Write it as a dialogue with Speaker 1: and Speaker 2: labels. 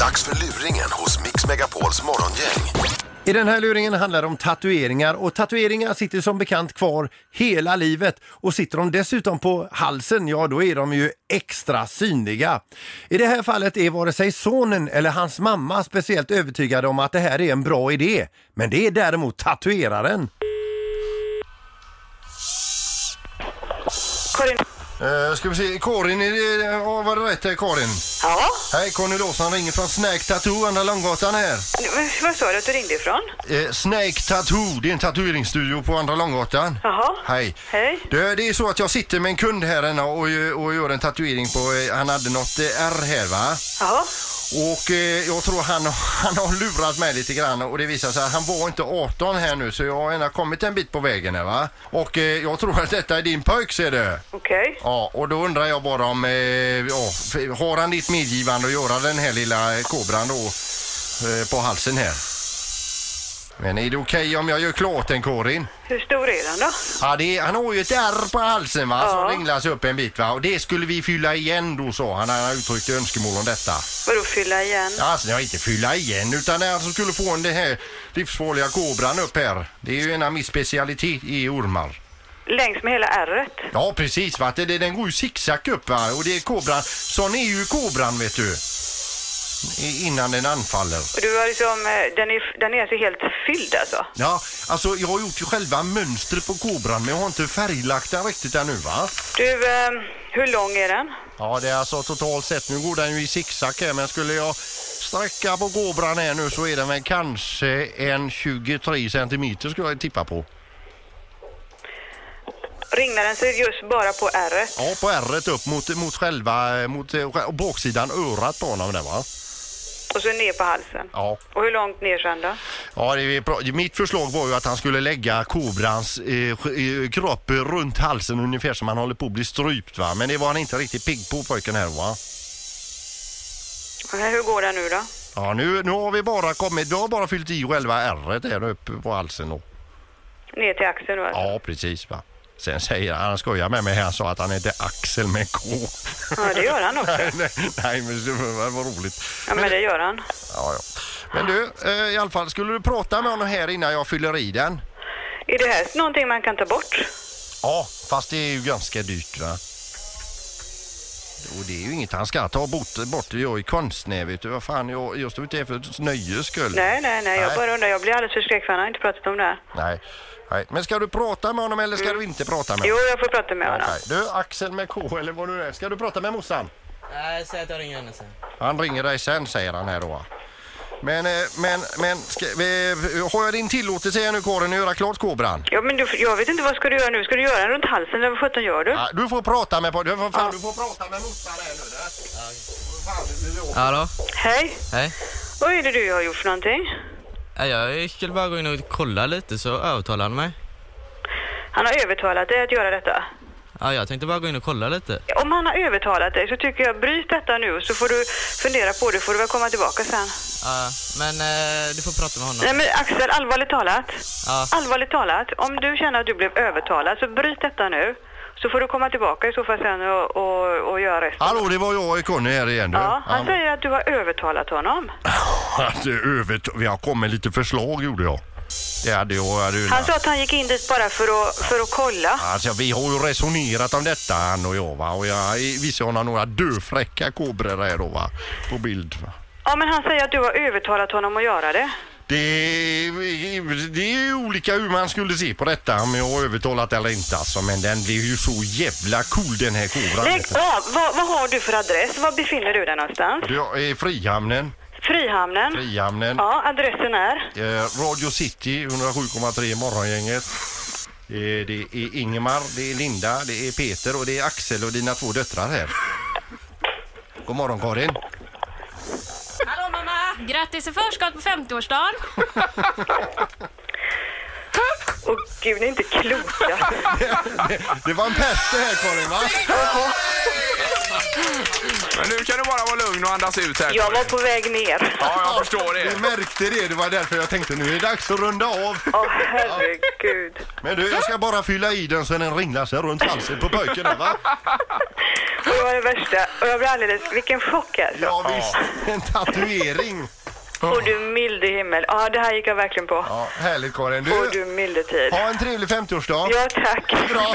Speaker 1: Dags för luringen hos Mix Megapols morgongäng.
Speaker 2: I den här luringen handlar det om tatueringar och tatueringar sitter som bekant kvar hela livet och sitter de dessutom på halsen, ja då är de ju extra synliga. I det här fallet är vare sig sonen eller hans mamma speciellt övertygade om att det här är en bra idé. Men det är däremot tatueraren.
Speaker 3: Karin.
Speaker 2: Uh, ska vi se, Karin, är det, eh, ja, var det rätt här Karin?
Speaker 3: Ja,
Speaker 2: Hej, Conny Lawson ringer från Snack Tattoo, Andra Långgatan här.
Speaker 3: Men vad sa du att du ringde ifrån?
Speaker 2: Eh, Snake Tattoo, det är en tatueringsstudio på Andra Långgatan.
Speaker 3: Jaha.
Speaker 2: Hej.
Speaker 3: Hej.
Speaker 2: Du, det är så att jag sitter med en kund här inne och, eh, och gör en tatuering på, eh, han hade något eh, R här va?
Speaker 3: Jaha,
Speaker 2: Och eh, jag tror han, han har lurat mig lite grann och det visar sig att han var inte 18 här nu så jag har ändå kommit en bit på vägen här va? Och eh, jag tror att detta är din pojk ser du.
Speaker 3: okej.
Speaker 2: Ja, och då undrar jag bara om, eh, ja, f- har han ditt medgivande att göra den här lilla eh, kobran då eh, på halsen här? Men är det okej om jag gör klart den Karin?
Speaker 3: Hur stor är den då?
Speaker 2: Ja, det är, han har ju ett ärr på halsen va, som
Speaker 3: Ja.
Speaker 2: ringlas upp en bit va. Och det skulle vi fylla igen då sa han, han uttryckte önskemål om detta.
Speaker 3: Vadå fylla igen?
Speaker 2: Ja, Alltså, jag inte fylla igen utan han som skulle få en den här livsfarliga kobran upp här. Det är ju en av min specialitet i ormar.
Speaker 3: Längs med hela ärret?
Speaker 2: Ja precis va, det, det- den går ju zigzag upp va och det är kobran, sån är ju kobran vet du. I- Innan den anfaller.
Speaker 3: Och du har liksom, eh, den är, den är alltså helt fylld alltså?
Speaker 2: Ja, alltså jag har gjort ju själva mönstret på kobran men jag har inte färglagt den riktigt ännu va.
Speaker 3: Du, eh, hur lång är den?
Speaker 2: Ja det är alltså totalt sett, nu går den ju i zigzag här men skulle jag sträcka på kobran här nu så är den väl kanske en 23 centimeter skulle jag tippa på.
Speaker 3: Ringnaden ser just bara på ärret.
Speaker 2: Ja, på ärret upp mot, mot själva, mot eh, baksidan örat på honom där va.
Speaker 3: Och så ner på halsen.
Speaker 2: Ja.
Speaker 3: Och hur långt ner sen då?
Speaker 2: Ja, det är bra. mitt förslag var ju att han skulle lägga kobrans eh, sk- eh, kropp runt halsen ungefär som han håller på att bli strypt va. Men det var han inte riktigt pigg på pojken här va.
Speaker 3: Och hur går den nu då?
Speaker 2: Ja, nu, nu har vi bara kommit, vi har bara fyllt i själva ärret där uppe på halsen då.
Speaker 3: Ner till axeln då alltså?
Speaker 2: Ja, precis va. Sen säger han, han skojar med mig här, han sa att han heter Axel med K.
Speaker 3: Ja, det gör han också.
Speaker 2: nej, nej, nej, men det var, var roligt.
Speaker 3: Ja, men det gör han.
Speaker 2: Ja, ja. Men du, eh, i alla fall, skulle du prata med honom här innan jag fyller i den?
Speaker 3: Är det här någonting man kan ta bort?
Speaker 2: Ja, fast det är ju ganska dyrt va? Och det är ju inget han ska ta bort. bort. Jag är konstnär vet du. Vad fan, jag, jag står inte här för ett nöjes skull.
Speaker 3: Nej, nej, nej. Jag
Speaker 2: Nej.
Speaker 3: bara undrar. Jag blir alldeles förskräckt för han har inte pratat om det här.
Speaker 2: Nej. Nej. Men ska du prata med honom eller ska du inte prata med
Speaker 3: Mm. Jo,
Speaker 2: honom?
Speaker 3: jag får prata med honom.
Speaker 2: Okej. Du, Axel med K eller vad du är. Ska du prata med morsan?
Speaker 4: Nej, säg att jag ringer henne sen.
Speaker 2: Han ringer dig sen säger han här då. Men, eh, men, men, ska, eh, har jag din tillåtelse här nu Karin att göra klart kobran?
Speaker 3: Ja, men du, jag vet inte vad ska du göra nu. Ska du göra den runt halsen eller vad sjutton gör du?
Speaker 2: Ja, du får prata med du får, fan, du får prata med morsan här nu. där. Fan, du- du-
Speaker 4: Hallå?
Speaker 3: Hej!
Speaker 4: Hej.
Speaker 3: Vad är det du har gjort för någonting?
Speaker 4: Nej, Jag skulle bara gå in och kolla lite så övertalade han mig.
Speaker 3: Han har övertalat dig att göra detta.
Speaker 4: Ja, jag tänkte bara gå in och kolla lite.
Speaker 3: Om han har övertalat dig så tycker jag bryt detta nu så får du fundera på det. får du väl komma tillbaka sen.
Speaker 4: Ja, men eh, du får prata med honom.
Speaker 3: Nej men Axel, allvarligt talat.
Speaker 4: Ja.
Speaker 3: Allvarligt talat, om du känner att du blev övertalad så bryt detta nu. Så får du komma tillbaka i så fall sen och, och, och göra resten.
Speaker 2: Hallå, det var jag och Conny här igen du.
Speaker 3: Ja, han säger att du har övertalat honom.
Speaker 2: Att övert... Vi har kommit lite förslag gjorde jag. Det hade jag. Hade ju-
Speaker 3: Han sa att han gick in dit bara för att, för att kolla.
Speaker 2: Alltså vi har ju resonerat om detta han och jag va. Och jag visade honom några döfräcka kobror här då va. På bild va.
Speaker 3: Ja, men han säger att du har övertalat honom att göra det.
Speaker 2: Det, det är ju olika hur man skulle se på detta om jag har övertalat eller inte alltså. Men den blev ju så jävla cool den här kobran.
Speaker 3: Lägg av! Vad, vad har du för adress? Var befinner du dig någonstans?
Speaker 2: Du, jag är Frihamnen.
Speaker 3: Frihamnen?
Speaker 2: Frihamnen.
Speaker 3: Ja, adressen är?
Speaker 2: Eh, Radio City 107,3 Morgongänget. Eh, Det är Ingemar, det är Linda, det är Peter och det är Axel och dina två döttrar här. God morgon Karin.
Speaker 5: Hallå mamma! Grattis i förskott på 50-årsdagen!
Speaker 3: Åh gud, ni är inte kloka.
Speaker 2: Det var en pest det här Karin va?
Speaker 6: Men nu kan du bara vara lugn och andas ut här.
Speaker 3: Jag var på väg ner.
Speaker 6: Ja, jag förstår det.
Speaker 2: Jag märkte det, det var därför jag tänkte nu är det dags att runda av.
Speaker 3: Åh, herregud.
Speaker 2: Men du, jag ska bara fylla i den så den ringlar sig runt halsen på pojken där, va?
Speaker 3: Och det var det värsta. Och jag blev alldeles... Vilken chock alltså.
Speaker 2: Ja visst, en tatuering.
Speaker 3: Och du milde himmel. Ja, det här gick jag verkligen på.
Speaker 2: Ja, härligt Karin.
Speaker 3: Och
Speaker 2: Du,
Speaker 3: du milde tid.
Speaker 2: ha en trevlig 50-årsdag.
Speaker 3: Ja, tack.
Speaker 2: Bra.